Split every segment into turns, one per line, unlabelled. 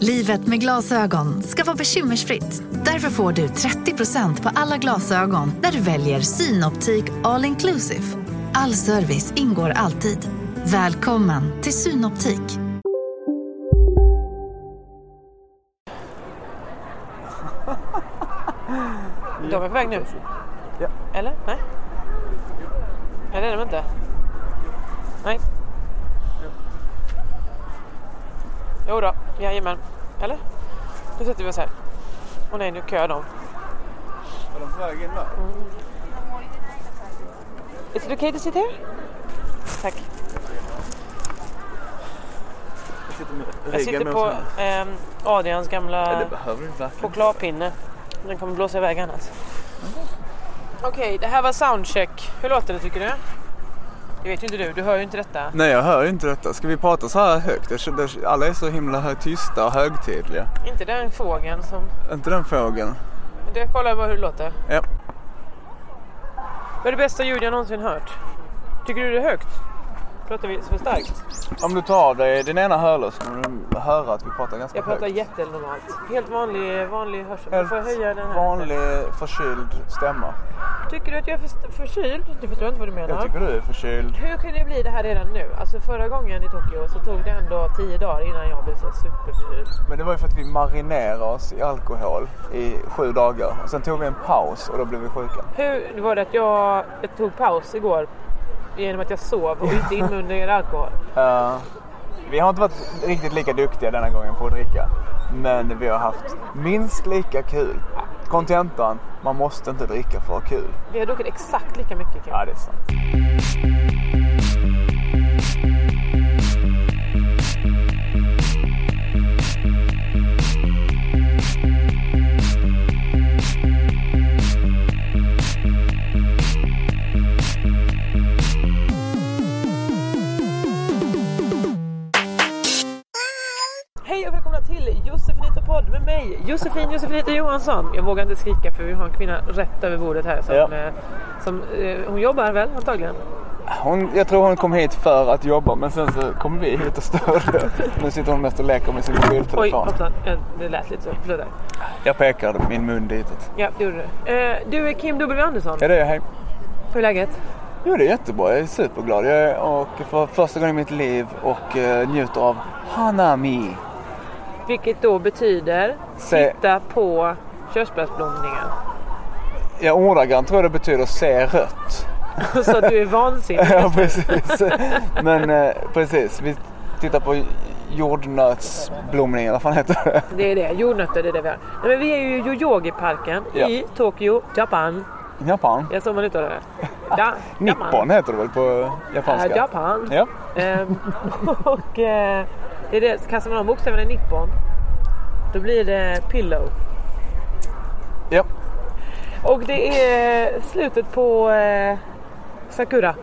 Livet med glasögon ska vara bekymmersfritt. Därför får du 30% på alla glasögon när du väljer Synoptik All Inclusive. All service ingår alltid. Välkommen till Synoptik.
De är på väg nu?
Ja.
Eller? Nej? Nej, det är de inte. Nej. Jo då, jajamän. Eller? Nu sitter vi oss här. Åh nej, nu kör de. Mm.
Är de på väg in då?
Is it okay to sit here? Tack.
Jag sitter med
Jag
ryggen
sitter
mot
på
varandra.
ehm, Adrians
Nej,
gamla
det behöver du inte verkligen.
chokladpinne. Den kommer blåsa iväg annars. Okej, det här var soundcheck. Hur låter det tycker du? Det vet ju inte du, du hör ju inte detta.
Nej, jag hör ju inte detta. Ska vi prata så här högt? Jag känner- Alla är så himla hö- tysta och högtidliga.
Inte den fågeln som...
Inte den fågeln.
Men Det kollar jag bara hur det låter.
Ja.
Vad är det bästa ljud jag någonsin hört? Tycker du det är högt? Pratar vi för starkt?
Om du tar av dig din ena hörlur så kommer du höra att vi pratar ganska
Jag pratar
högt.
jättenormalt. Helt vanlig, vanlig hörsel. Får jag höja den här?
vanlig förkyld stämma.
Tycker du att jag är för, förkyld? Det förstår jag inte vad du menar.
Jag tycker du är förkyld.
Hur kunde jag bli det här redan nu? Alltså förra gången i Tokyo så tog det ändå tio dagar innan jag blev så superförkyld.
Men det var ju för att vi marinerade oss i alkohol i sju dagar. Och sen tog vi en paus och då blev vi sjuka.
Hur var det att jag, jag tog paus igår genom att jag sov och inte inmundigade alkohol?
Eh, vi har inte varit riktigt lika duktiga denna gången på att dricka. Men vi har haft minst lika kul. Kontentan, man måste inte dricka för att ha kul.
Vi har druckit exakt lika mycket kan
Ja, det är sant.
Hej och välkomna till Josefinito podd med mig Josefin Josefinito Johansson. Jag vågar inte skrika för vi har en kvinna rätt över bordet här som,
Ja.
eh, som eh, hon jobbar väl antagligen.
Hon, jag tror hon kom hit för att jobba men sen så kom vi hit och störde. Nu sitter hon mest och leker med sin
Oj
mobiltelefon.
hoppsan, Eh, det lät lite så. Förlåt där.
Jag pekar min mun ditåt.
Ja det gjorde du. Eh, du är Kim W Andersson.
Ja, det är jag. Hej.
Hur är läget?
Jo, det är jättebra. Jag är superglad. Jag är och för första gången i mitt liv och eh, njuter av Hanami.
Vilket då betyder
Se,
titta på körsbärsblomningen.
jag ordagrant tror jag det betyder se rött.
så att du är vansinnig.
Ja, precis. Men eh, precis, vi tittar på jordnötsblomning, eller vad fan heter det?
Det är det, jordnötter det är det vi har. Nej, men vi är ju i Yoyogi-parken
Ja.
i Tokyo, Japan.
I Japan?
Det är så man uttalar det. Ja, Japan.
Nippon heter det väl på
Ja,
japanska?
Japan.
Ja.
Ehm, och eh, det är det, så kastar man om bokstäverna i nippon då blir det pillow.
ja.
Och det är slutet på eh, Sakura.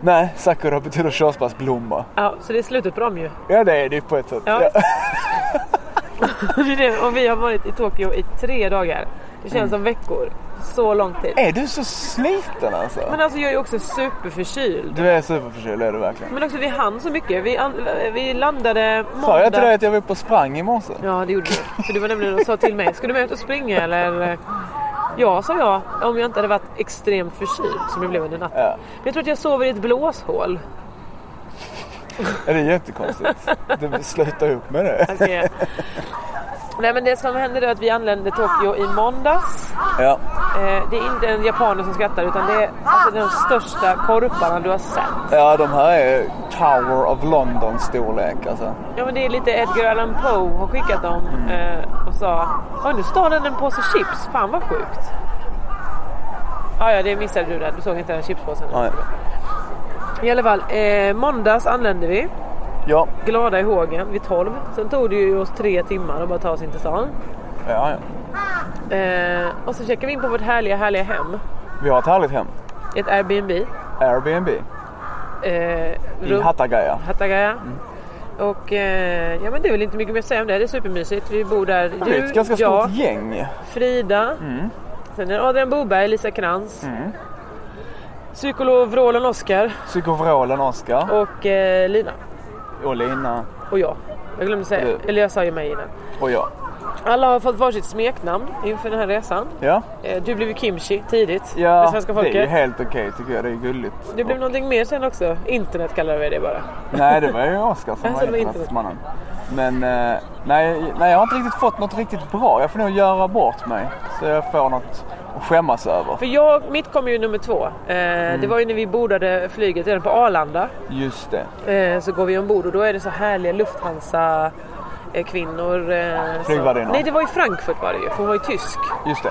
Nej, sakura betyder körsbärsblomma.
Ja, så det är slutet på dem ju.
Ja, det är det ju på ett sätt.
Ja. Det är det. och vi har varit i Tokyo i tre dagar. Det
Mm.
känns som veckor. Så lång tid.
Är du så sliten alltså?
Men alltså jag är ju också superförkyld.
Du är superförkyld, är du verkligen.
Men också vi hann så mycket. Vi, an- vi landade måndag.
Sa jag till dig att jag var uppe och sprang i morse?
Ja det gjorde du. För du var nämligen och sa till mig, ska du med ut och springa eller? Ja sa jag, om jag inte hade varit extremt förkyld som jag blev under natten.
Ja.
Men jag tror att jag sover i ett blåshål.
Ja, det är jättekonstigt. Du slutar upp med det.
Alltså, jag- Nej men det som hände då är att vi anlände Tokyo i måndags.
Ja.
Eh, det är inte en japaner som skrattar utan det är alltså, de största korparna du har sett.
ja, de här är Tower of London storlek alltså.
Ja men det är lite Edgar Allan Poe har skickat dem
Mm.
eh, och sa Åh nu stal den en påse chips, fan vad sjukt. Ja Ah, ja, det missade du där. Du såg inte den chipspåsen.
Ja,
I alla fall, eh, måndags anlände vi.
ja.
Glada i hågen vid 12. Sen tog det ju oss tre timmar att bara ta oss in till stan.
ja, ja.
Eh, och så checkade vi in på vårt härliga, härliga hem.
Vi har ett härligt hem.
Ett Airbnb.
Airbnb
Eh,
i Mm.
rum-
Hattagaya.
Hattagaya. Och eh, ja men det är väl inte mycket mer att säga om det. Det är supermysigt. Vi bor där.
Vi är ett ganska
jag,
stort gäng.
Frida.
Mm.
Sen är det Adrian Boberg, Lisa Krantz. Psykolog Vrålen Oskar
Psykovrålen Oskar
och eh, Lina.
och Lina
Och jag. Jag glömde säga.
Du.
Eller jag sa ju mig innan.
och jag.
Alla har fått varsitt smeknamn inför den här resan.
Ja,
Eh, Du blev ju Kimchi tidigt med
ja
svenska
det är ju
folket.
helt okej tycker jag. Det är gulligt.
Det blev någonting mer sen också. Internet kallar vi det bara.
Nej, det var ju Oskar som
Alltså,
var
det var inte-
internetsmannen. Men eh, nej, nej, jag har inte riktigt fått något riktigt bra. Jag får nog göra bort mig så jag får något att skämmas över.
För jag, mitt kom ju nummer två. Eh,
Mm.
Det var ju när vi bordade flyget redan på Arlanda.
Just det.
Eh, så går vi ombord och då är det så härliga Lufthansa eh, kvinnor. Eh, så-
Flygvärdinnor.
Nej det var i Frankfurt var det ju, för hon var ju tysk.
Just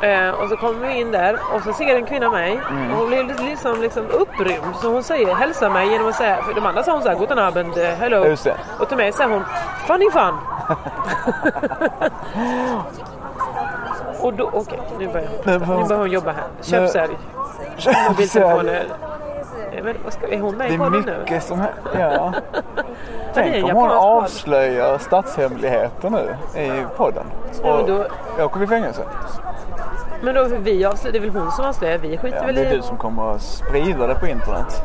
det.
Eh, och så kommer vi in där och så ser en kvinna mig
Mm.
och hon blir li- liksom, liksom upprymd så hon säger hälsa mig genom att säga, för de andra sa hon så här guten abend, eh, hello.
Just det.
Och till mig säger hon funny fun. och då, okej nu börjar hon,
Nu
nu
börjar hon-
börjar hon jobba här. Köpsälj, mobiltelefoner. Eh, Men, vad ska, är hon med
Det
i
är
podden nu?
mycket som händer. Ja.
det är
Tänk om
en
hon
japansk podd.
avslöjar statshemligheter nu i podden.
men
Och
då-
åker vi i fängelse.
Men då, vi avslöjar, det är väl hon som avslöjar, vi skiter
Ja,
väl
det är
i...
du som kommer att sprida det på internet.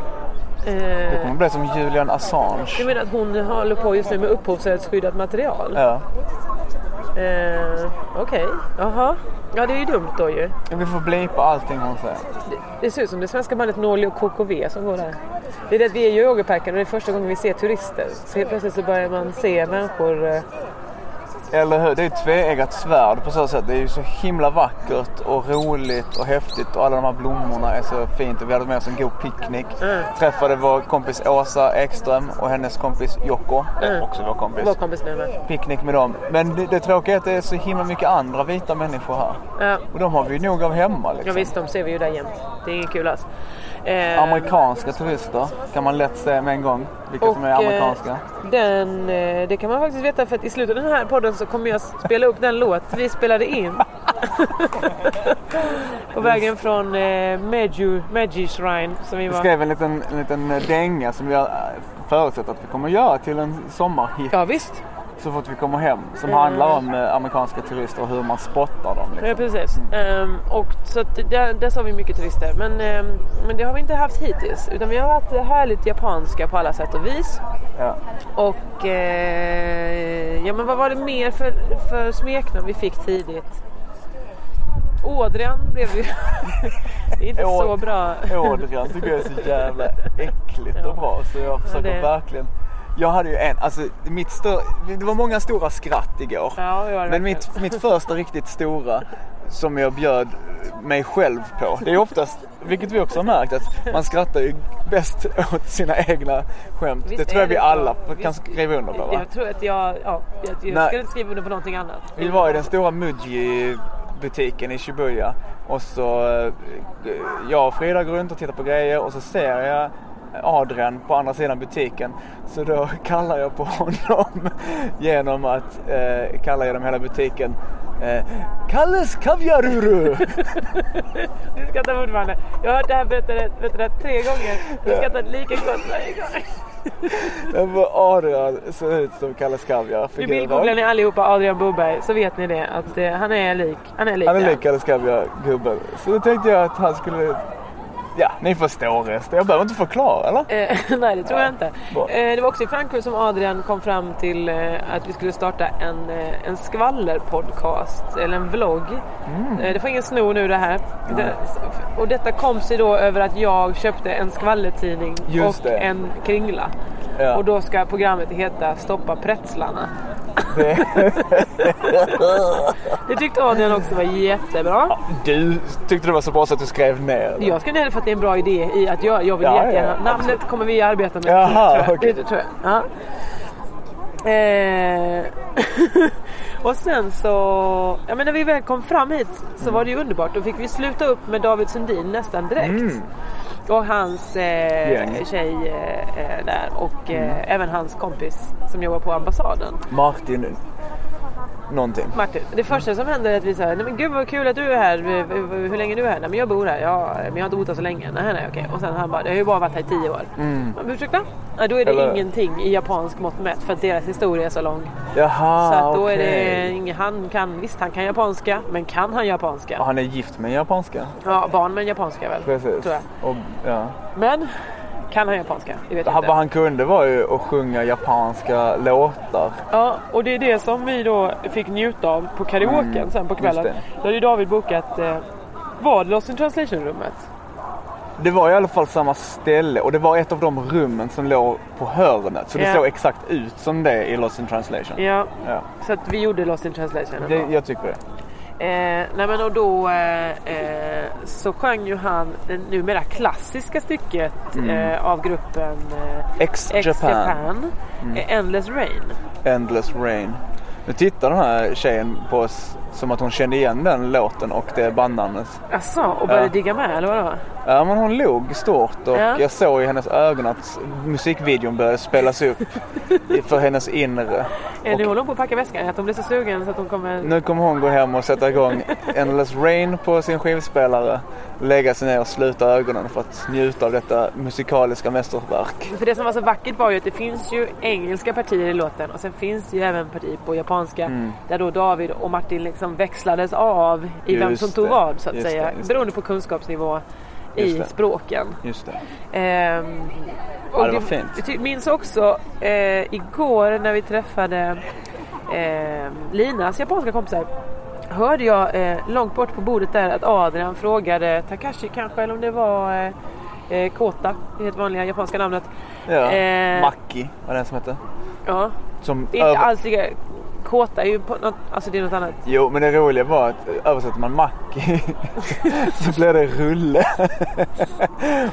Du
Eh,
kommer bli som Julian Assange.
du menar att hon håller på just nu med upphovsrättsskyddat material?
Ja.
Eh, Okej, jaha. Ja det är ju dumt då ju.
Vi får blipa allting hon säger.
Det, det ser ut som det svenska bandet Norli och KKV som går där. Det är det att vi är i Yogaparken och det är första gången vi ser turister. Så helt plötsligt så börjar man se människor. eh,
Eller hur? Det är ett tveeggat svärd på så sätt. Det är ju så himla vackert och roligt och häftigt och alla de här blommorna är så fint. Och vi hade med oss en god picknick.
Mm.
Träffade vår kompis Åsa Ekström och hennes kompis Jocko. Mm. Också vår kompis.
Vår kompis nu med.
Picknick med dem. Men det, det tråkiga är att det är så himla mycket andra vita människor här.
Ja,
Och de har vi ju nog av hemma
ja
liksom.
visst, de ser vi ju där jämt. Det är inget kul alls. Eh,
Amerikanska turister kan man lätt se med en gång. Vilka som är
Och, eh,
amerikanska.
Den, eh, det kan man faktiskt veta för att i slutet av den här podden så kommer jag spela upp den låt vi spelade in. På vägen från eh, Meju, Meji Shrine som vi
Vi
var.
skrev en liten, en liten dänga som jag eh, förutsätter att vi kommer göra till en sommarhit
Ja visst,
så fort vi kommer hem. Som handlar om eh, amerikanska turister och hur man spottar dem.
ja,
Liksom.
precis. Ehm, och så att där, där sa vi mycket turister. Men, ehm, men det har vi inte haft hittills. Utan vi har varit härligt japanska på alla sätt och vis.
Ja.
Och eh, ja men vad var det mer för, för smeknamn vi fick tidigt? Ådrian blev ju... det är inte
Åd-
så bra.
Ådrian tycker jag är så jävla äckligt och bra så jag försöker
det-
verkligen. Jag hade ju en, alltså mitt stör... det var många stora skratt igår.
Ja, det var det verkligen.
Men mitt, mitt första riktigt stora som jag bjöd mig själv på. Det är oftast, vilket vi också har märkt, att man skrattar ju bäst åt sina egna skämt.
Visst
det tror jag
är det
vi
så.
alla kan
Visst-
skriva under på va?
Jag tror att jag... Ja, jag, jag
Nej.
skulle inte skriva under på någonting annat.
Vi var i den stora Muji-butiken i Shibuya och så eh, jag och Frida går runt och tittar på grejer och så ser jag Adrian på andra sidan butiken. Så då kallar jag på honom genom att eh, kalla genom hela butiken eh, Kalles Kaviaruru!
Du skrattar fortfarande. Jag har hört det här berättat, berättat tre gånger. Du skrattar lika gott varje gång.
Jag bara, Adrian ser ut som Kalles Kaviar.
Nu
figuren.
bildgooglar ni allihopa Adrian Boberg så vet ni det att eh, han är lik. Han är lik
Han är
det.
lik Kalles Kaviar-gubben. Så då tänkte jag att han skulle... Ja, ni förstår resten. Jag behöver inte förklara eller?
Eh, Nej, det tror jag inte.
bra.
Eh, Det var också i Frankfurt som Adrian kom fram till eh, att vi skulle starta en, eh, en skvallerpodcast, eller en vlogg.
Mm.
Eh, Det får ingen sno nu det här. Det, och detta kom sig då över att jag köpte en skvallertidning
Just
och
det.
en kringla.
Ja.
Och då ska programmet heta Stoppa pretslarna. det tyckte Adrian också var jättebra.
Du tyckte det var så bra så att du skrev ner det.
Jag skulle hellre för att det är en bra idé i att jag, jag vill
Ja, ja,
jättegärna.
ja,
Namnet kommer vi arbeta med.
Jaha,
tror jag.
okej.
Det tror jag. Ja. Eh, och sen så, ja men när vi väl kom fram hit så var det ju underbart. Då fick vi sluta upp med David Sundin nästan direkt.
Mm.
Och hans eh,
Gäng. Mm.
tjej eh, eh, där och eh, även hans kompis som jobbar på ambassaden.
Martin någonting.
Martin, det första som händer är att vi säger nej men gud vad kul att du är här. V- v- v- Hur länge är du här? Nej men jag bor här. Ja, men jag har inte bott här så länge. Nej nej okej. Och sen han bara, jag har ju bara varit här i tio år. Mm. Men, ursäkta? Ja, då är det
Eller-
ingenting i japansk mått mätt för att deras historia är så lång.
Jaha,
Så att då är det,
Ah, okej.
ing- han kan, visst han kan japanska, men kan han
Ja,
japanska?
Ah, Han är gift med en japanska.
Ja, barn med japanska väl?
Precis.
Tror jag.
Och, ja.
Men kan han japanska? Det vet jag
Han,
inte.
vad han kunde var ju att sjunga japanska låtar.
Ja, och det är det som vi då fick njuta av på karaoken
Mm,
sen på kvällen.
just det.
Då hade ju David bokat, eh, var det Lost in translation-rummet?
Det var i alla fall samma ställe och det var ett av de rummen som låg på hörnet. Så det
Ja.
såg exakt ut som det i Lost in translation.
Ja,
Ja.
så att vi gjorde Lost in translation.
Det,
ändå.
jag tycker det.
Eh, nej men och då eh, eh, så sjöng ju han det numera klassiska stycket
Mm.
eh, av gruppen eh,
Ex-Japan.
Ex-Japan,
Mm.
eh, Endless Rain.
Endless Rain. Nu tittar den här tjejen på oss som att hon kände igen den låten och det bandnamnet.
Asså, och började
Ja.
digga med eller vadå?
Ja men hon log stort och
Ja.
jag såg i hennes ögon att musikvideon började spelas upp i- för hennes inre.
Eh, nu
Och Mm.
håller hon på att packa väskan, att hon blir så sugen så att hon kommer...
nu kommer hon gå hem och sätta igång Endless Rain på sin skivspelare, lägga sig ner och sluta ögonen för att njuta av detta musikaliska mästerverk.
För det som var så vackert var ju att det finns ju engelska partier i låten och sen finns det ju även partier på japanska
Mm.
där då David och Martin liksom växlades av i vem
Just
som tog
det,
vad så att
just
säga
det, just det.
beroende på kunskapsnivå
Just
i
det.
språken.
Just det.
Ehm, och
Ja, det var fint.
Jag ty- minns också eh, igår när vi träffade eh, Linas japanska kompisar. Hörde jag eh, långt bort på bordet där att Adrian frågade Takashi kanske eller om det var eh, eh, Kota, det helt vanliga japanska namnet.
Ja.
Eh.
Maki var den som hette.
Ja,
Som
det är inte
över-
alls lika... Kåta är ju på något, alltså det är något annat.
Jo, men det roliga var att översätter man Macki så blir det rulle.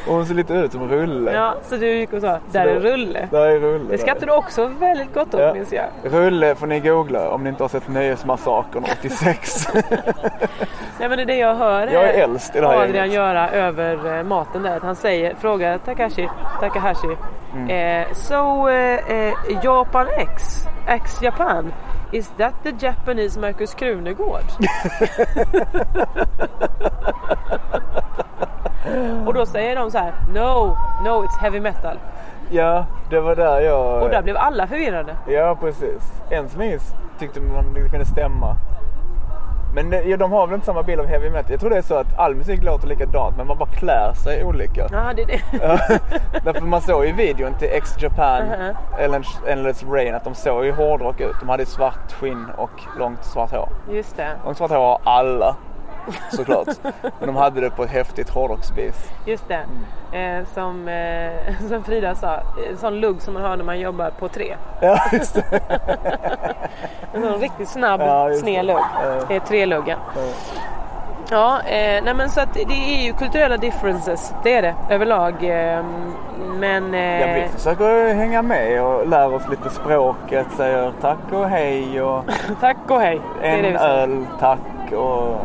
och hon ser lite ut som rulle.
Ja, så du gick och sa där
det-
är Rulle.
Där är rulle.
Det skrattar du också väldigt gott åt
Ja.
minns jag.
Rulle får ni googla om ni inte har sett Nöjesmassakern 86.
Nej men det är det jag hör
Jag är
eh,
äldst i det här
Adrian
gänget.
göra över eh, maten där. Att han säger, frågar Takashi, Takahashi.
Mm.
Eh, so eh, eh, Japan X, X Japan. Is that the Japanese Markus Krunegård? och då säger de så här No, no it's heavy metal.
ja, det var där jag...
Och där blev alla förvirrade.
Ja, precis. En som minns tyckte man det kunde stämma. Men det, ja, de har väl inte samma bild av heavy metal. Jag tror det är så att all musik låter likadant men man bara klär sig olika.
Ja, det är det.
Därför man såg i videon till X-Japan
Mhm.
Endless- Endless Rain att de såg ju hårdrock ut. De hade svart skinn och långt svart hår.
Just det.
Långt svart hår har alla såklart. Men de hade det på ett häftigt hårdrocksvis.
Just det.
Mm.
Eh, som, eh, som Frida sa, en sån lugg som man har när man jobbar på tre.
Ja, just det.
En sån riktigt snabb
Ja, just det.
sned lugg.
Ja.
Det är treluggen. Ja, eh, nej men så att det är ju kulturella differences. Det är det överlag. Eh, men... Eh,
Ja, vi försöker hänga med och lära oss lite språket. Säger tack och hej och
Tack och hej. Det är
en
det vi säger.
öl tack och...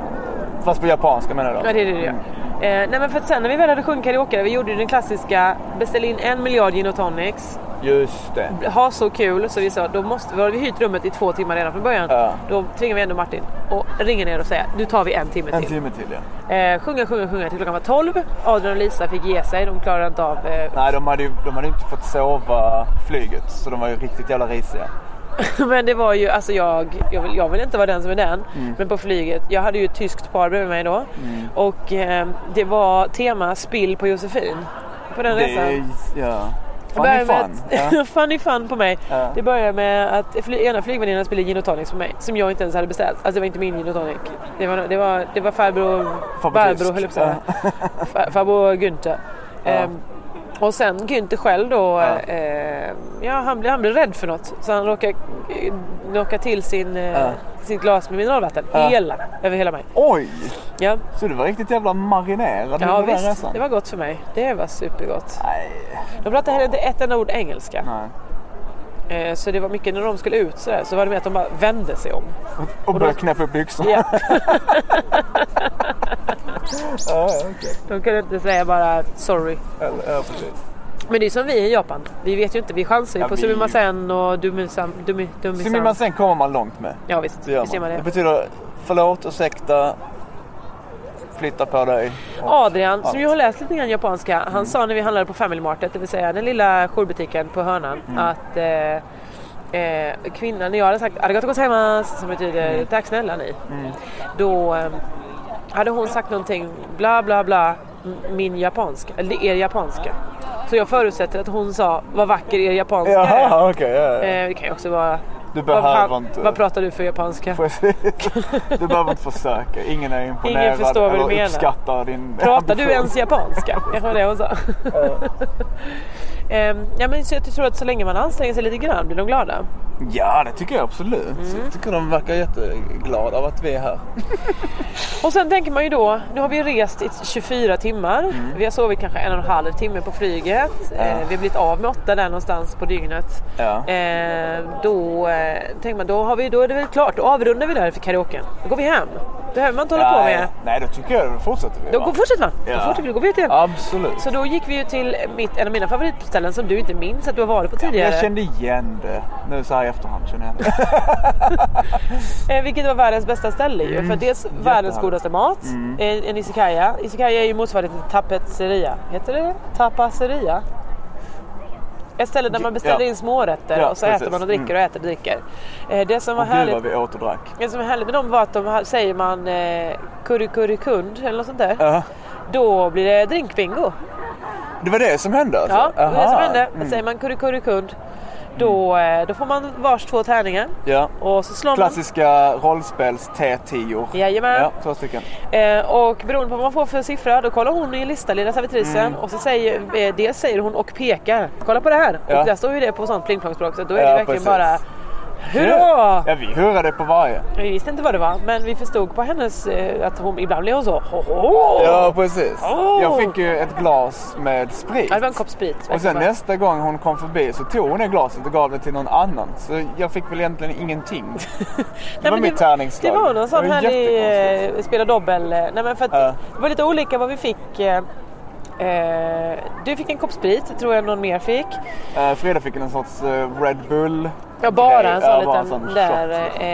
Fast på japanska menar jag då. Mm.
Ja, det är det du gör. Eh, nej men för att sen när vi väl hade sjungit karaoke, vi gjorde ju den klassiska beställ in en miljard gin och tonics.
Just det.
ha så kul så vi sa då måste vi, har vi hyrt rummet i två timmar redan från början.
Ja.
Då tvingar vi ändå Martin och ringer ner och säger nu tar vi en timme
En
till.
timme till ja.
Eh, sjunga, sjunga, sjunga till klockan var 12. Adrian och Lisa fick ge sig, de klarade inte av eh,
Nej, de hade ju de hade inte fått sova flyget så de var ju riktigt jävla risiga.
Men det var ju, alltså jag, jag, vill, jag vill inte vara den som är den.
Mm.
Men på flyget, jag hade ju ett tyskt par bredvid mig då. Och eh, det var tema spill på Josefin. På den
Det
resan.
är, ja.
Det
Funny
börjar
fun.
med
Ja.
Att, funny fun på mig.
Ja.
Det börjar med att fly, ena flygvärdinnan spillde gin och tonics på mig. Som jag inte ens hade beställt. Alltså det var inte min gin och tonic. Det var, det var, det var farbror...
Farbror
Barbro
Tysk.
höll jag på att säga. Fa- Farbror Günther. Ehm, och sen Günther själv då,
Ja.
eh, ja, han, blev, han blev rädd för något. Så han råkade eh, knocka till sin, eh,
Ja.
sitt glas med mineralvatten.
Ja.
Hela, över hela mig.
Oj!
Ja,
Så du var riktigt jävla marinerad
ja
under den
visst.
resan?
Det var gott för mig. Det var supergott.
Nej.
De pratade heller inte ett enda ord engelska.
Nej.
Eh, Så det var mycket när de skulle ut så, där, så var det med att de bara vände sig om.
Och började knäppa upp byxorna.
Ja.
Ja, ja, okej.
De kunde inte säga bara sorry.
Eller- Ja, precis.
Men det är som vi i Japan. Vi vet ju inte, vi chansar ju
Ja,
på
vi-
sumimasen och dumisan. Dumi, dumisan.
Simmar sen kommer man långt med.
Ja visst,
Det gör
Liksom. visst gör man
Det
det.
betyder förlåt, ursäkta, flytta på dig.
Adrian, som ju har läst lite grann japanska, han sa när vi handlade på Family Martet, det vill säga den lilla jourbutiken på hörnan, att eh, eh, kvinnan, när jag hade sagt arigato gozaimasu, som betyder tack snälla ni, då eh, hade hon sagt någonting bla bla bla, m- min japanska, eller er japanska. Så jag förutsätter att hon sa vad vacker er japanska är.
Jaha, okej. ja, ja.
Eh, det kan ju också vara
Du
vad,
behöver
vad,
inte...
vad pratar du för japanska?
Precis. Du behöver inte försöka. Ingen är imponerad
Ingen förstår vad du
eller
menar.
uppskattar din
Pratar du
ambition.
ens japanska? Det var det hon sa. Ehm, ja, men så jag tror att så länge man anstränger sig lite grann blir de glada.
Ja, det tycker jag absolut.
Mm.
Jag tycker de verkar jätteglada av att vi är här.
Och sen tänker man ju då, nu har vi rest i 24 timmar.
Mm.
Vi har sovit kanske en och en halv timme på flyget. Eh, vi har blivit av med åtta där någonstans på dygnet.
Ja.
Ehm, då eh, tänker man, då, har vi, då är det väl klart, då avrundar vi där för karaoken. Då går vi hem. behöver man inte hålla på med.
Nej, då tycker jag då fortsätter vi.
Då
va?
går, fortsätter man. Då,
Ja.
fortsätter, vi, då går vi ut igen.
Absolut.
Så då gick vi ju till mitt, en av mina favoritställen som du inte minns att du har varit på tidigare.
Jag kände igen det. Nu så här i efterhand känner jag det.
Eh, vilket var världens bästa ställe
Mm,
ju. För dels världens godaste mat, Eh, en, en izakaya. Izakaya är ju motsvarigheten till tapetseria. Heter det Tapaseria? Ett ställe där man beställer
Ja.
in smårätter
Ja,
och så äter
precis. Mm.
man och dricker och äter och dricker. Eh, det som var
Gud vad
härligt
vi åt och drack.
det som var härligt med dem var att de ha- säger man eh, curry curry kund eller något sånt där.
Ja.
Då blir det drinkbingo.
Det var det som hände alltså?
Ja, det var det som
Aha.
hände.
Mm.
Säger man curry curry kund då, eh, då får man vars två tärningar
Ja.
och så slår man
Klassiska rollspels T10.
Jajamän.
Ja, två stycken.
Eh, och beroende på vad man får för siffra, då kollar hon i en lista, lilla servitrisen.
Mm.
Och så säger, eh, dels säger hon och pekar. Kolla på det här!
Ja.
Och där står ju det på sånt plingplongspråk, så då är
Ja,
det verkligen
precis.
bara Hurra!
Ja, vi hurrade på varje.
Vi visste inte vad det var, men vi förstod på hennes eh, att hon ibland blev hon så ho, ho.
Ja, precis.
Åh!
Jag fick ju ett glas med sprit.
Ja, det var en kopp sprit.
Och sen
verkligen.
nästa gång hon kom förbi så tog hon det glaset och gav det till någon annan. Så jag fick väl egentligen ingenting. Det
Nej,
var
men
mitt tärningsslag.
Det var någon sån
Det var
härlig
jättekonstigt.
eh, spela dobbel. eh, Nej, men för att
Ja.
Det var lite olika vad vi fick. eh, Eh, du fick en kopp sprit, tror jag någon mer fick.
Eh, Frida fick en sorts eh, Red Bull.
Ja, bara en
grej. Ja,
sån
bara en
liten
sån
där.
shot, liksom.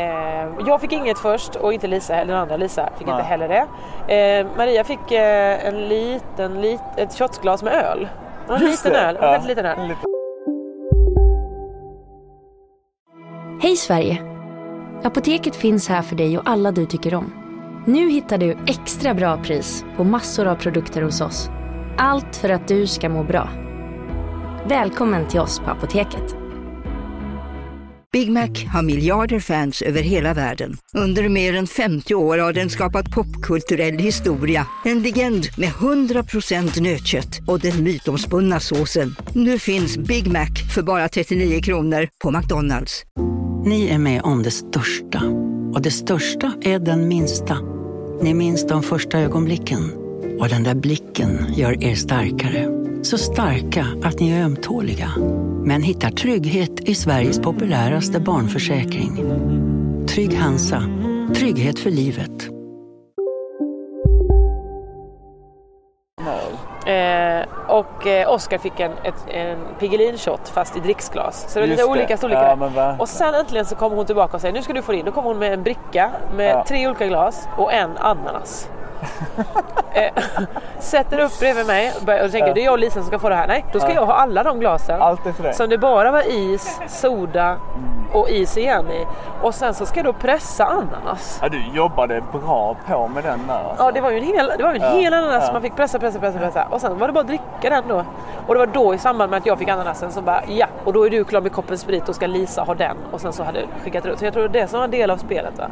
eh, jag fick inget först och inte Lisa, heller, den andra Lisa fick inte
Nej.
heller det. Eh, Maria fick eh, en liten, lit, ett shotglas med öl. Och En
Just
liten
det,
öl, en
ja.
väldigt liten öl.
En liten-
Hej Sverige! Apoteket finns här för dig och alla du tycker om. Nu hittar du extra bra pris på massor av produkter hos oss. Allt för att du ska må bra. Välkommen till oss på Apoteket.
Big Mac har miljarder fans över hela världen. Under mer än 50 år har den skapat popkulturell historia. En legend med 100% nötkött och den mytomspunna såsen. Nu finns Big Mac för bara 39 kronor på McDonalds.
Ni är med om det största. Och det största är den minsta. Ni minns de första ögonblicken. Och den där blicken gör er starkare. Så starka att ni är ömtåliga. Men hittar trygghet i Sveriges populäraste barnförsäkring. Trygg Hansa. Trygghet för livet.
Eh, och eh, Oscar fick en, ett, en Piggelin-shot fast i dricksglas. Så det var
Just
lite olika
det.
storlekar.
Ja, men verkligen.
och sen äntligen så kom hon tillbaka och säger nu ska du få din. Då kom hon med en bricka med
Ja.
tre olika glas och en ananas. eh, sätter upp bredvid mig och börjar- och tänker det är jag och Lisa som ska få det här. Nej, då ska jag ha alla de glasen.
Allt är för dig. Mm.
Som det bara var is, soda och is igen i. Och sen så ska jag då pressa ananas.
Ja, du jobbade bra på med den där. Alltså.
Ja det var ju en hel, det var ju en hel ananas
ja.
som man fick pressa, pressa, pressa, pressa. Och sen var det bara att dricka den då. Och det var då i samband med att jag fick ananasen som bara ja, och då är du klar med koppen sprit och ska Lisa ha den. Och sen så hade jag skickat runt. Så jag tror det är det som var en del av spelet va.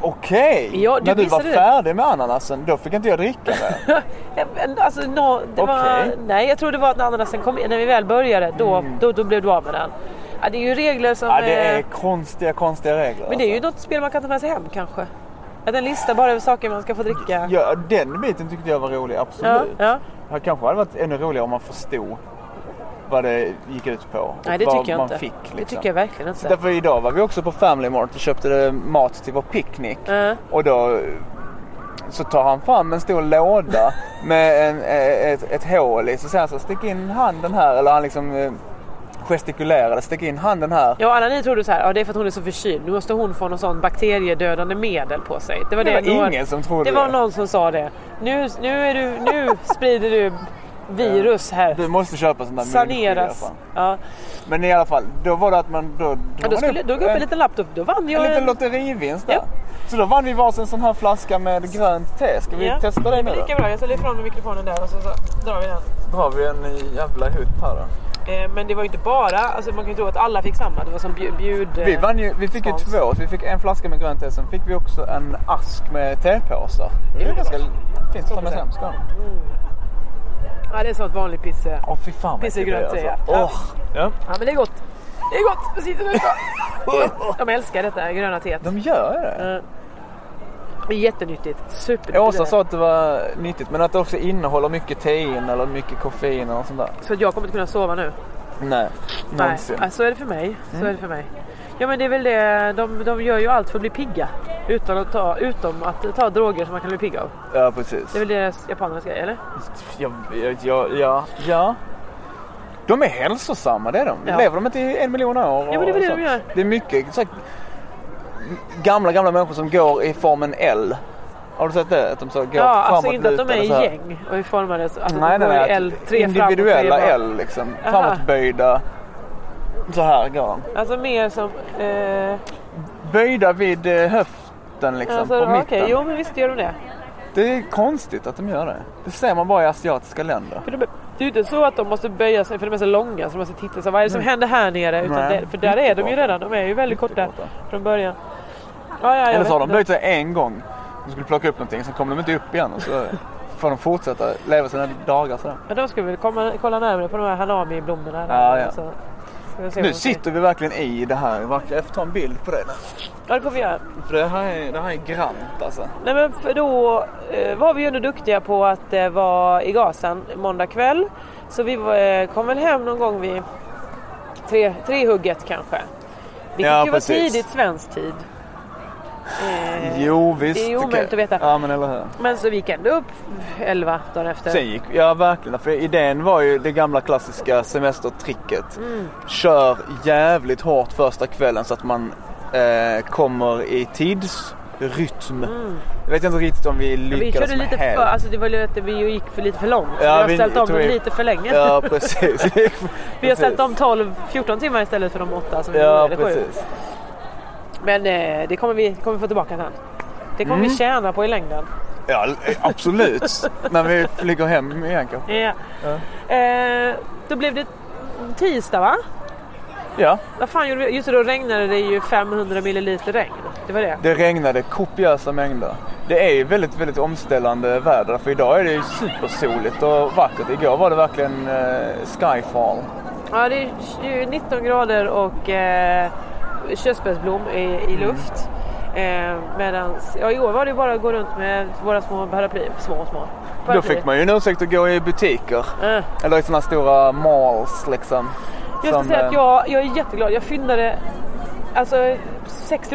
Okej!
Ja, du
När du var
missade det.
färdig med ananasen, då fick inte jag dricka det.
Men Alltså, nå- det var,
Okej. Mm.
nej jag tror det var att när ananasen kom in, när vi väl började då, då, då blev du av med den. Ja, det är ju regler som
ja, det är
eh,
konstiga, konstiga regler.
Men det är ju
alltså.
något spel man kan ta med sig hem kanske. Att en lista bara över saker man ska få dricka.
alltså. Ja, den biten tyckte jag var rolig, absolut.
ja.
Det kanske hade varit ännu roligare om man förstod. vad det gick ut på. Och
Nej det
vad
tycker jag
man
inte.
fick. Liksom.
Det tycker jag verkligen inte.
Så därför idag var vi också på Family Mart och köpte mat till vår picknick.
Ja.
Och då så tar han fram en stor låda med en, ett, ett hål i. Så säger han så här, stick in handen här. Eller han liksom eh, gestikulerade, stick in handen här.
Ja, alla ni trodde så här, ja, det är för att hon är så förkyld, nu måste hon få någon sån bakteriedödande medel på sig. Det var,
Det
det
var
några-
ingen som trodde
Det var
det.
någon som sa det. Nu, nu, är du, nu sprider du virus här.
Du måste köpa sånt där munskydd i alla
Saneras.
fall.
Ja.
Men i alla fall, då var det att man... Då,
Ja,
då, var det
då skulle, då gav jag upp en
en-
liten laptop, då vann jag
En liten lotterivinst där.
Ja.
Så då vann vi varsin sån här flaska med grönt te. Ska vi
Ja.
testa det nu
Men
då?
lika bra, jag ställer ifrån mikrofonen där och så, så drar vi den.
Då har vi en ny jävla hutt här då.
Eh, men det var ju inte bara, alltså man kan ju tro att alla fick samma. Det var som bjud... bjud eh,
Vi, vann ju, vi fick ju
spons.
två. Så vi fick en flaska med grönt te. Sen fick vi också en ask med tepåsar. Det är
Underbart.
ganska fint. Ta med
precis.
hem ska
Ja, det är som ett vanligt pisse.
Åh fy fan
Finns det
äckligt
grönt te,
alltså.
ja.
Åh. Ja.
Ja, men det är gott. Det är gott, det sitter där uppe. De älskar detta gröna teet.
De gör ju det.
Det är jättenyttigt. Supernyttigt.
Åsa sa att det var nyttigt men att det också innehåller mycket tein eller mycket koffein och sånt där.
Så att jag kommer inte kunna sova nu.
Nej,
Nej,
någonsin. Mm.
ja, så är det för mig. Så är det för mig. Ja men det är väl det, de, de gör ju allt för att bli pigga. Utan att ta, utom att ta droger som man kan bli pigg av.
Ja precis.
Det är väl deras japanernas grej eller?
Ja, ja, ja, ja, ja. De är hälsosamma, det är de.
Ja.
Lever de inte i en miljon år?
Ja, men det är väl
och
det de
så.
gör.
Det är mycket så här, gamla, gamla människor som går i formen L. Har du sett det? Att de så går
Ja, alltså
framåt
inte att de är
lutade
i
så här.
gäng och är formade så. Alltså
Nej,
de
nej,
går
nej.
i L,
att
tre framåt, tre
individuella
bak.
L liksom.
Aha.
Framåtböjda. Så här går de.
Alltså mer som... Eh,
Liksom Böjda vid eh, höften liksom,
alltså,
på mitten.
ja, okej, jo men visst gör de det.
Det är konstigt att de gör det. Det ser man bara i asiatiska länder.
För de, det är ju inte så att de måste böja sig för de är så långa så de måste titta så vad är det som händer här nere? Utan
Mm. Nej,
det, för där är de ju
jättekorta.
redan, de är ju väldigt korta
Jättekorta.
från början. Ja, ja, jag
Eller så har
vet
de
inte.
böjt sig en gång. De skulle plocka upp någonting, sen kommer de inte upp igen och så får de fortsätta leva sina dagar sådär.
Men de ska vi väl komma, kolla närmare på de här hanami-blommorna. där.
Ja, ja.
Så ska vi se
Nu
vad de säger.
sitter vi verkligen i det här. Verkligen. Jag får ta en bild på det nu.
Ja, det får vi göra.
För det här är, det här är grant alltså.
Nej men för då eh, var vi ju ändå duktiga på att eh, vara i Gazan måndag kväll. Så vi var, eh, kom väl hem någon gång vid tre, tre hugget kanske. Vilket
Ja,
ju var
precis.
tidigt svensk tid. Eh,
Jo visst.
det är ju omöjligt att veta.
Ja men eller hur.
Men så vi kan upp elva dagen efter.
Sen gick, ja verkligen. För idén var ju det gamla klassiska semestertricket.
Mm.
Kör jävligt hårt första kvällen så att man eh, kommer i tidsrytm. Jag vet inte riktigt om vi lyckades
Mm. vi körde
med
lite för,
helt.
alltså det var ju att vi gick för lite för långt.
Ja,
vi har
vi-
ställt
jag
om
tror
dem
vi-
lite för länge.
Ja precis.
vi har ställt om 12-14 timmar istället för de åtta som vi
Ja
gjorde, eller sju.
precis.
Men eh, det kommer vi, kommer vi få tillbaka sen. Det kommer
Mm.
vi tjäna på i längden.
Ja absolut. När vi flyger hem igen kanske.
Ja. Eh, då blev det tisdag va?
Ja.
Vad fan gjorde vi? Just det, då regnade det ju 500 milliliter regn. Det var det.
Det regnade kopiösa mängder. Det är ju väldigt, väldigt omställande väder. För idag är det ju supersoligt och vackert. Igår var det verkligen eh, skyfall.
Ja, det är tju- 19 grader och eh, körsbärsblom i, i
Mm.
luft. Eh, medans, ja, I år var det bara att gå runt med våra små paraplyer. Små, små.
Då
Paraplyer.
fick man ju en ursäkt att gå i butiker.
Eh.
Eller i sådana stora malls liksom.
Jag ska
Som,
säga att
eh,
jag, jag är jätteglad. Jag fyndade alltså, 60%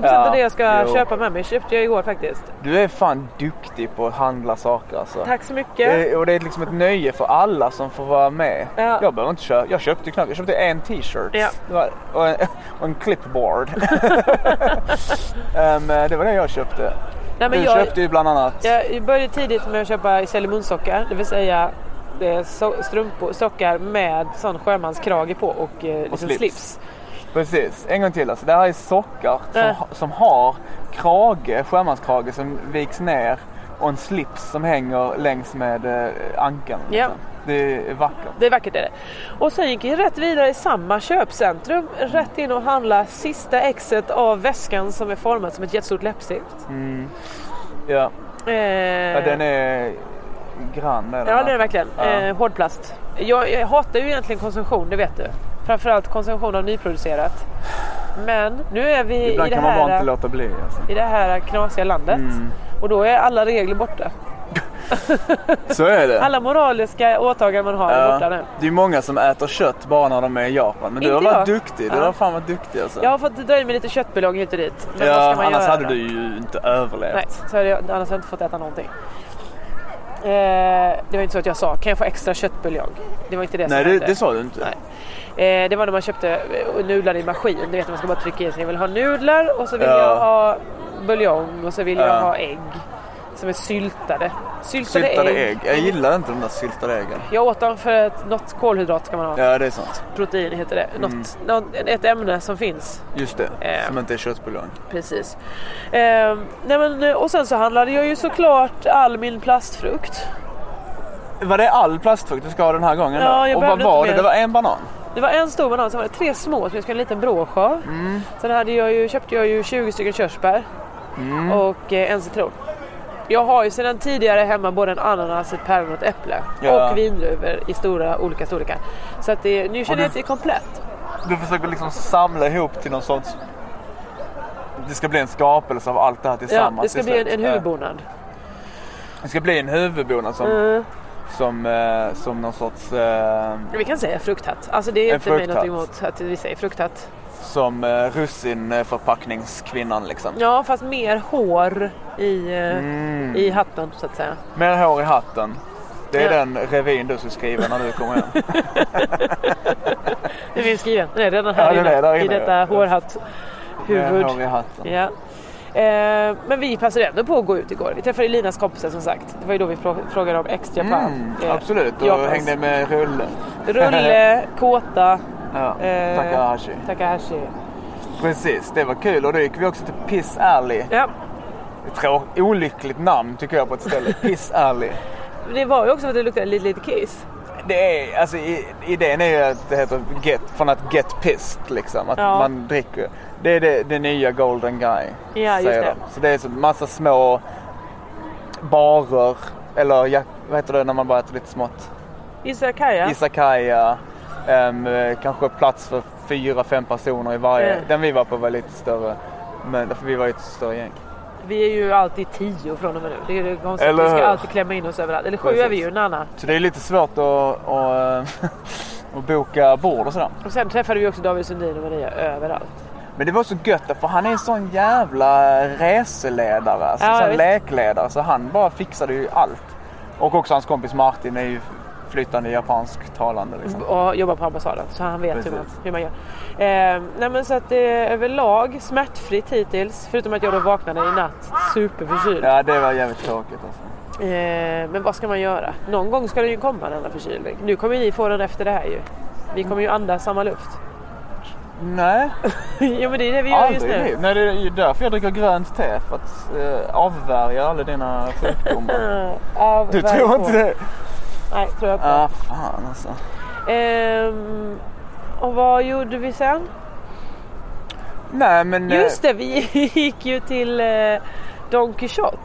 Ja,
av det jag ska
jo.
köpa med mig köpte jag igår faktiskt.
Du är fan duktig på att handla saker alltså.
Tack så mycket.
Det, och det är liksom ett nöje för alla som får vara med.
Ja.
Jag behöver inte köpa. Jag köpte ju knappt. Jag köpte en t-shirt.
Ja.
Det var- Och, en, och en clipboard. Ehm, det var det jag köpte.
Nej, men
du
jag,
köpte ju bland annat.
jag började tidigt med att köpa cellemunsockar, det vill säga eh, so- strumpor, sockar med sån sjömanskrage på och, eh, liksom
slips.
slips.
Precis. En gång till alltså. Det här är sockar som,
Äh.
ha- som har krage, sjömanskrage som viks ner och en slips som hänger längs med eh, ankan.
Ja.
liksom. Det är vackert.
Det är vackert är det. Och sen gick jag rätt vidare i samma köpcentrum, rätt in och handla sista exet av väskan som är formad som ett jättestort läppstift.
Ja.
Eh,
Mm. ja, den är grann. Är den,
Ja
va?
det är det verkligen.
Ja.
Eh, hårdplast. Jag, jag hatar ju egentligen konsumtion, det vet du. Framförallt konsumtion av nyproducerat. Men nu är vi i
Ibland
det
kan man bara
här, eh.
inte låta bli. Alltså.
i det här knasiga landet. Och då är alla regler borta.
Så är det.
Alla moraliska åtaganden man har är borta nu.
Ja. Eh, Det är många som äter kött bara när de är i Japan. Men du
Inte
har varit
jag.
duktig. Du
Ja.
har fan varit duktig alltså.
Jag har fått dra i mig lite köttbuljong hit och dit. Men vad
Ja,
ska man
annars
göra
hade
då?
du ju inte överlevt.
Nej, så hade jag, annars hade jag inte fått äta någonting. Eh, det var inte så att jag sa, kan jag få extra köttbuljong? Det var inte det
Nej,
som
det,
hände.
det sa du inte.
Nej. Eh, det var när man köpte eh, nudlar i maskin. Du vet när man ska bara trycka i sig. Jag vill ha nudlar och så vill
Ja.
jag ha buljong och så vill
Ja.
jag ha ägg. Som är syltade. Syltade,
Syltade
ägg.
ägg. Jag gillar inte de där syltade äggen.
Jag åt dem för att något kolhydrat ska man ha.
Ja, Mm. det är sant.
Protein heter det. Något, någon, ett ämne som finns.
Just det.
Ja.
Som inte är köttbuljong.
Precis. Eh, nej men, eh, och sen så handlade jag ju såklart all min plastfrukt.
Var det all plastfrukt du ska ha den här gången?
Ja,
då?
jag
Och vad
behövde
var
inte
det?
mer.
Det var en banan?
Det var en stor banan, sen var det tre små som jag skulle ha en liten brioche av.
Mm.
Sen hade jag ju, köpte jag ju 20 stycken körsbär
Mm.
och eh, en citron. Jag har ju sedan tidigare hemma både en ananas, ett päron och ett äpple.
Ja.
Och vindruvor i stora olika storlekar. Så att det, nu känner
du-
jag att det är komplett.
Du försöker liksom samla ihop till någon sorts... Det ska bli en skapelse av allt det här
Ja,
tillsammans.
det ska
till
bli en,
slut.
en huvudbonad.
Ja. Det ska bli en huvudbonad som,
Mm.
som, eh, som någon sorts... Eh,
Vi kan säga frukthatt. Alltså det är
En
inte mig
frukthatt.
något emot att vi säger frukthatt.
som eh, russinförpackningskvinnan liksom.
Ja, fast mer hår i, eh,
Mm.
i hatten så att säga.
Mer hår i hatten. Det är
Ja.
den revyn du ska skriva när du kommer hem.
Den finns skriven. Den är redan här
Ja, den är
inne,
där
i
inne,
detta
ja.
hårhatt
Mer
huvud.
hår i hatten.
Ja. Eh, men vi passade ändå på att gå ut igår. Vi träffade Linas kompisar som sagt. Det var ju då vi frå- frågade om extra plan.
Mm,
Eh,
absolut, och
Japans-
hängde med Rulle.
Rulle, Kåta,
Ja,
Eh.
Takahashi.
Takahashi.
Precis, det var kul. Och då gick vi också till Piss Alley.
Ja.
Trå- olyckligt namn tycker jag på ett ställe. Piss Alley.
Men Det var ju också för att det luktade lite, lite kiss.
Det är, alltså, i, idén är ju att det heter get, från att get pissed liksom. Att
Ja.
man dricker. Det är det, det nya Golden Guy.
Ja, just
säger
det.
de. Så det är så massa små barer. Eller ja, vad heter det när man bara äter lite smått?
Isakaya.
Isakaya. ehm, eh, kanske plats för fyra, fem personer i varje.
Mm.
Den vi var på var lite större. Men därför vi var ju ett större gäng.
vi är ju alltid tio från och med nu. Det är ju det konstiga.
Eller
Vi ska
hur?
alltid klämma in oss överallt. Eller sju
Precis.
är vi ju, Nanna.
Så det är lite svårt att, att, att boka bord och sådär.
Och sen träffade vi också David Sundin och Maria överallt.
Men det var så gött för han är en sån jävla reseledare, alltså,
Ja,
sån
visst.
läkledare. Så han bara fixade ju allt. Och också hans kompis Martin är ju flytande japansktalande. Liksom.
Och jobbar på ambassaden så han vet hur man,
Precis.
hur man gör. Eh, nej men så att det är överlag smärtfritt hittills. Förutom att jag då vaknade i natt superförkyld.
Ja, det var jävligt tråkigt alltså.
Eh, men vad ska man göra? Någon gång ska det ju komma denna förkylning. Nu kommer ju ni få den efter det här ju. Vi kommer ju andas samma luft.
Nej,
jo men det är det vi gör just
aldrig i
nu.
livet. Nej, det är ju därför jag dricker grönt te. För att eh, avvärja alla dina sjukdomar.
Eh, av
Du
varje
tror
år.
inte det?
Nej, tror jag inte.
Ah, fan alltså.
Ehm, och vad gjorde vi sen?
Nej, men... eh,
Just det, vi gick ju till eh, Don Quixote.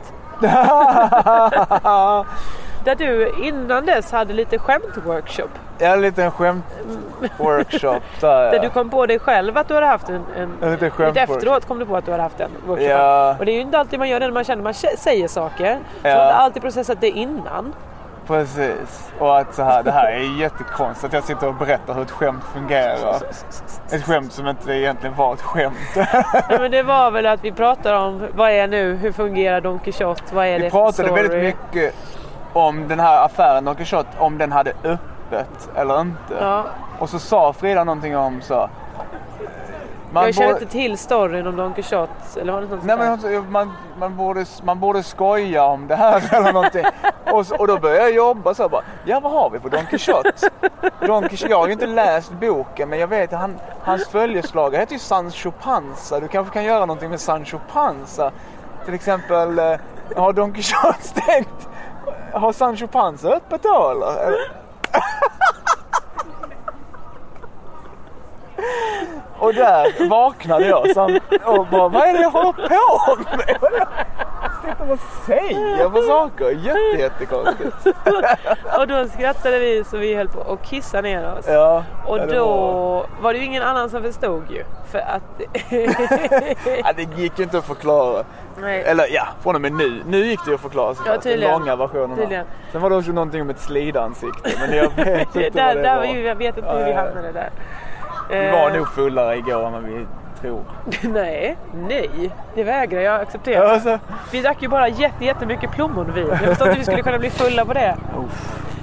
Där du innan dess hade lite skämtworkshop.
Jag har en liten skämt-workshop.
Mm. Där du kom på dig själv att du hade haft en...
En
en
liten
lite
skämt-workshop.
efteråt kom du på att du hade haft en workshop.
Ja.
Och det är ju inte alltid man gör det när man känner man kä- säger saker. Så
Ja.
man har inte alltid processat det innan.
Precis. Och att så här, det här är jättekonstigt att jag sitter och berättar hur ett skämt fungerar. Ett skämt som inte egentligen var ett skämt.
Nej, men det var väl att vi pratade om vad är nu, hur fungerar Don Quixote, vad är det
Vi
för
pratade
story?
väldigt mycket om den här affären Don Quixote, om den hade öppet eller inte.
Ja.
Och så sa Frida någonting om så... Man
Jag känner
borde-
inte till storyn om Don Quixote. Eller var det något sånt
Nej
där?
men alltså, man, man, borde, man borde skoja om det här eller någonting. Och, så, och då började jag jobba så här bara, ja vad har vi på Don Quixote? Don Quixote, jag har ju inte läst boken men jag vet att han, hans följeslagare heter ju Sancho Panza. Du kanske kan göra någonting med Sancho Panza. Till exempel, eh, har Don Quixote stängt? Har Sancho Panza öppet då eller? Och där vaknade jag som, och bara, vad är det jag håller på med? sitter och säger för saker. Jätte, jättekonstigt.
Och då skrattade vi så vi höll på att kissa ner oss.
Ja,
Och
ja, det
då
var-
var det ju ingen annan som förstod ju. För att...
Ja, det gick ju inte att förklara.
Nej.
Eller ja, från och med nu. Nu gick det ju att förklara såklart. Den
tydligen.
Långa versionen. här.
Tydligen.
Sen var det också någonting om ett slidansikte. Men jag vet
där,
inte vad det
där
var.
var ju, jag vet inte hur vi
Nej.
hamnade där.
Vi
Eh,
var nog fullare igår än vad vi tror.
Nej, nej. Det vägrar jag acceptera.
Alltså,
Vi drack ju bara jätte, jättemycket plommonvin. Jag förstår inte hur vi skulle kunna bli fulla på det.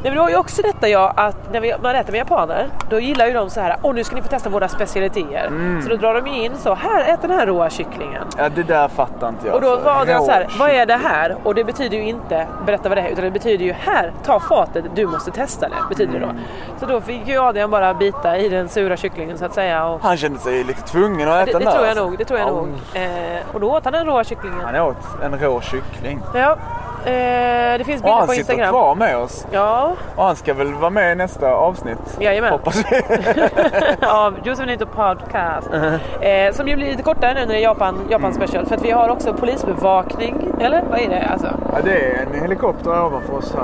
Nej, men det var ju också detta jag att när vi, man äter med japaner då gillar ju de så här, åh nu ska ni få testa våra specialiteter.
Mm.
Så då drar de ju in så, här ät den här råa kycklingen.
ja, det där fattar inte jag.
Och då
alltså.
var det
Rå
så här, vad är
shit.
det här? Och det betyder ju inte berätta vad det är utan det betyder ju här, ta fatet, du måste testa det. Betyder
Mm.
det då. Så då fick ju Adrian bara bita i den sura kycklingen så att säga. Och
Han kände sig lite tvungen att
det,
äta
det
den där,
tror jag
alltså.
nog, det tror jag
Ja,
nog. Eh, och då åt han den råa kycklingen.
Han åt en rå kyckling.
Ja, eh, det finns
Och
bilder på
han sitter
Instagram.
kvar med oss.
Ja,
Och han ska väl vara med i nästa avsnitt.
Jajamän.
Hoppas vi.
av Josefinito Podcast.
Uh-huh.
Eh, som ju blir lite kortare nu när det är Japan, Japan
Mm.
special. För att vi har också polisbevakning. Eller vad är det? Alltså,
Ja, det är en helikopter ovanför oss här.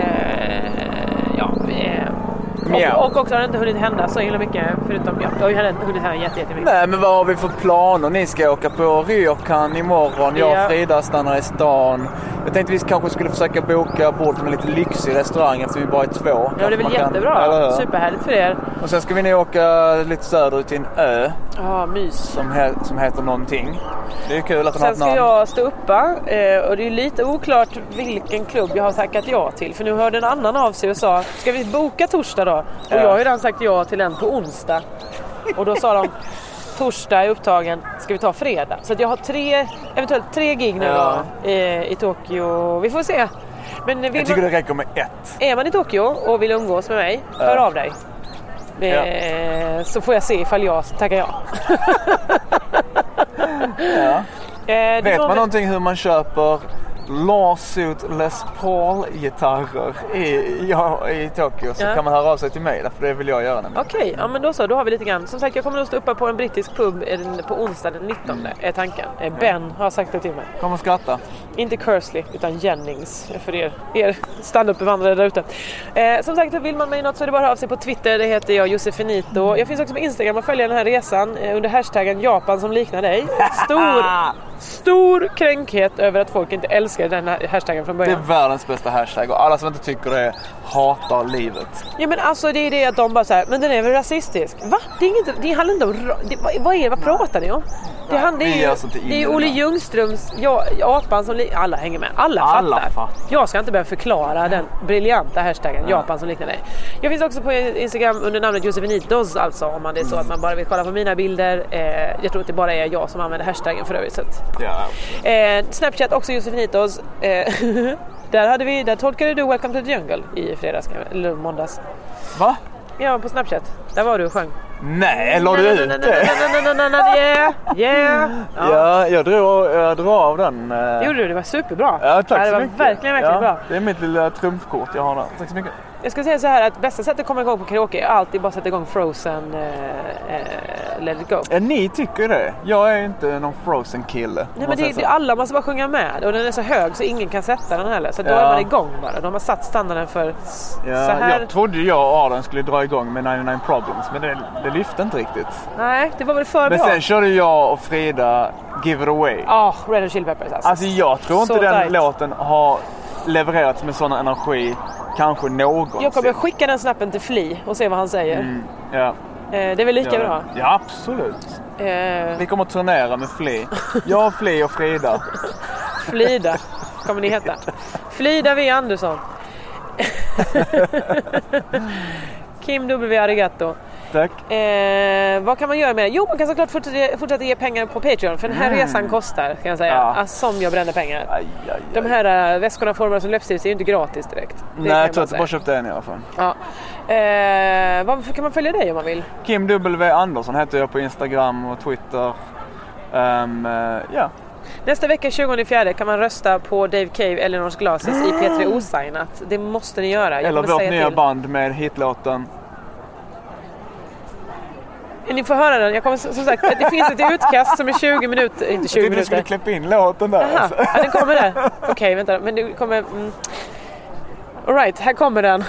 eh, ja, vi, eh,
Mjau.
och, och också har det inte hunnit hända så himla mycket. Förutom ja, det har ju hända- hunnit hända jätte- jättemycket.
Nej men vad har vi för planer? Ni ska åka på Ryokan imorgon. Jag
Ja.
och Frida stannar i stan. Jag tänkte vi kanske skulle försöka boka bord på en lite lyxig restaurang eftersom vi bara är två.
Ja, det är väl jättebra.
Super.
Superhärligt för er.
Och sen ska vi nu åka lite söderut till en ö
Ja, mys.
som, he- som heter någonting. Det är kul att den har
Sen
ett
ska
namn.
jag stå uppa eh, och det är lite oklart vilken klubb jag har tackat ja till. För nu hörde en annan av sig och sa, ska vi boka torsdag då? Och jag har ju redan sagt ja till en på onsdag. Och då sa de, torsdag är upptagen, ska vi ta fredag? Så att jag har tre, eventuellt tre gig nu
Ja.
då, eh, i Tokyo. Vi får se. Men vill
Jag tycker
man,
det räcker med ett.
är man i Tokyo och vill umgås med mig, hör av dig. Eh, Så får jag se ifall jag tackar ja. Eh, det var
Vet man
väl-
någonting hur man köper Lawsuit Les Paul-gitarrer i, ja, i Tokyo så
Ja.
kan man höra av sig till mig. Därför det vill jag göra nämligen.
Okej, ja men då så, då har vi lite grann. Som sagt, jag kommer att stå uppe på en brittisk pub eh, den- på onsdag den 19 är tanken. Eh, Ben har sagt det till mig.
Kom och skratta.
Inte Kersley, utan Jennings för er, er standup-bevandrare där ute. Eh, som sagt, vill man mig något så är det bara att höra av sig på Twitter. Det heter jag Josefinito. Jag finns också på Instagram och följer den här resan eh, under hashtaggen Japan som liknar dig. Stor, stor kränkhet över att folk inte älskar den här hashtaggen från
Det är
början.
världens bästa hashtag och alla som inte tycker det hatar livet.
Ja men alltså det är det att de bara säger men den är väl rasistisk? Va? Det, är inget, det handlar inte om... ra- Det, vad, vad är vad pratar ni om? Det, han, det
vi
är
gör
ju
sånt i
det är ju
Indien,
Olle
va?
Ljungströms ja, Japan som... li- Alla hänger med. Alla,
Alla
fattar.
fattar.
Jag ska inte behöva förklara den briljanta hashtaggen Japan som liknar dig. Jag finns också på Instagram under namnet Josefinitos alltså om man det är så att man bara vill kolla på mina bilder. Eh, jag tror att det bara är jag som använder hashtaggen för övrigt. Så att
Ja.
Eh, Snapchat också Josefinitos. Eh, där, hade vi, där tolkade du Welcome to the Jungle i fredags, kan jag- eller måndags.
Va?
Ja, på Snapchat. Där var du och sjöng.
Nej, la du ut det?
Yeah, yeah. Ja.
Ja, jag drog, jag drog av den. eh.
Det gjorde du, det var superbra.
Ja, tack
det
så
var
mycket.
verkligen, verkligen
ja,
bra.
Det är mitt lilla trumfkort jag har där. Tack så mycket.
Jag skulle säga så här att bästa sättet att komma igång på karaoke är alltid bara att sätta igång Frozen eh, eh, Let it go.
Ja, ni tycker det. Jag är inte någon frozen kille.
Nej, men det, det, alla måste bara sjunga med och den är så hög så ingen kan sätta den heller. Så då
Ja.
är man igång bara. Då har man satt standarden för s- så
ja,
här.
jag trodde jag och Adam skulle dra igång med 99 problems men det, det lyfte inte riktigt.
Nej, det var väl för
Men
bra.
sen körde jag och Frida Give It Away.
Ja, Red Hot Chili Peppers alltså.
Alltså jag tror inte
Så
den
tight.
låten har levererats med sån energi kanske någonsin.
Jag kommer skicka den snappen till Fli och se vad han säger.
Mm, ja,
Eh, det är väl lika
gör det.
bra.
Ja, absolut.
Eh,
Vi kommer att turnera med Fli. Jag, Fli och Frida.
Flida kommer ni heta. Flida V Andersson. Kim W Arigato.
Tack.
Eh, vad kan man göra med det? Jo, man kan såklart fortsätta, fortsätta ge pengar på Patreon för den här resan kostar kan jag säga.
Mm. Ja.
Alltså, som jag bränner pengar.
Aj, aj, aj.
De här eh, väskorna formade som löpstift är ju inte gratis direkt. Det kan
Nej, jag tror
man
att jag
säga.
bara köpte en i alla fall.
Ja. Eh, vad kan man följa dig om man vill?
Kim W Andersson heter jag på Instagram och Twitter. Ehm, eh, ja.
Nästa vecka 20 fjärde kan man rösta på Dave Cave, Eleanors Glasses i P3 Osignat. Det måste ni göra. Jag
Eller
kommer
vårt
säga
nya
till.
band med hitlåten
Ni får höra den. Jag kommer, som sagt, det finns ett utkast som är 20 minuter, inte 20
Jag tänkte du skulle
minuter.
klippa in låten där.
Aha,
alltså.
ja, den kommer där. Okej, vänta. Men det kommer... Mm. Alright, här kommer den.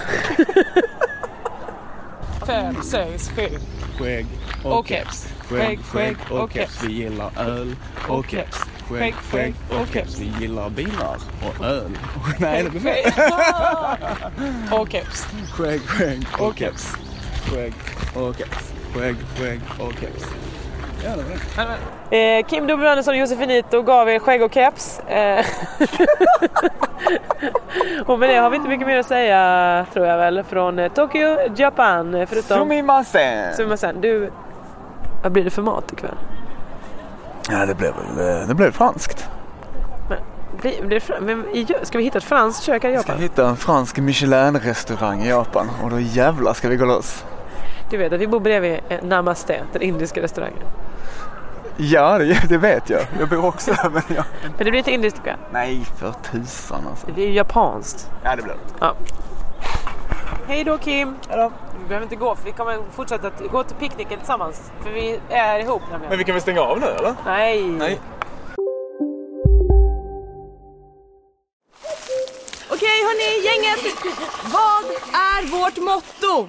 Fem, sex, sju
Skägg
och keps.
Skägg, skägg och keps. Vi gillar öl och keps. Skägg, skägg och keps. Vi gillar bilar och öl. Nej, det blir fel.
Och keps.
Skägg, skägg och keps. Skägg och keps. Skägg, skägg och keps. Ja, det var det.
Eh, Kim W Andersson och Josefinito gav er skägg och keps. Eh. och med det har vi inte mycket mer att säga tror jag väl från eh, Tokyo, Japan. eh, Förutom
Sumimasen!
Sumimasen. Du, vad blir det för mat ikväll?
Ja, det blev väl det blev franskt.
Blir, blir det, fr- men i, ska vi hitta ett franskt kök här i
Jag ska
Japan?
hitta en fransk Michelin-restaurang i Japan och då jävlar ska vi gå loss.
Du vet att vi bor bredvid eh, Namaste, den indiska restaurangen.
Ja, det, det vet jag. Jag bor också där. Men jag...
Men det blir inte indiskt ikväll.
Nej, för tusan alltså.
Det blir ju japanskt.
Ja, det blev det.
Hej då Kim! Vi behöver inte gå för vi kommer fortsätta att gå till picknicken tillsammans. För vi är ihop nämligen.
Men vi kan väl stänga av nu eller?
Nej.
Nej.
Okej hörni, gänget! Vad är vårt motto?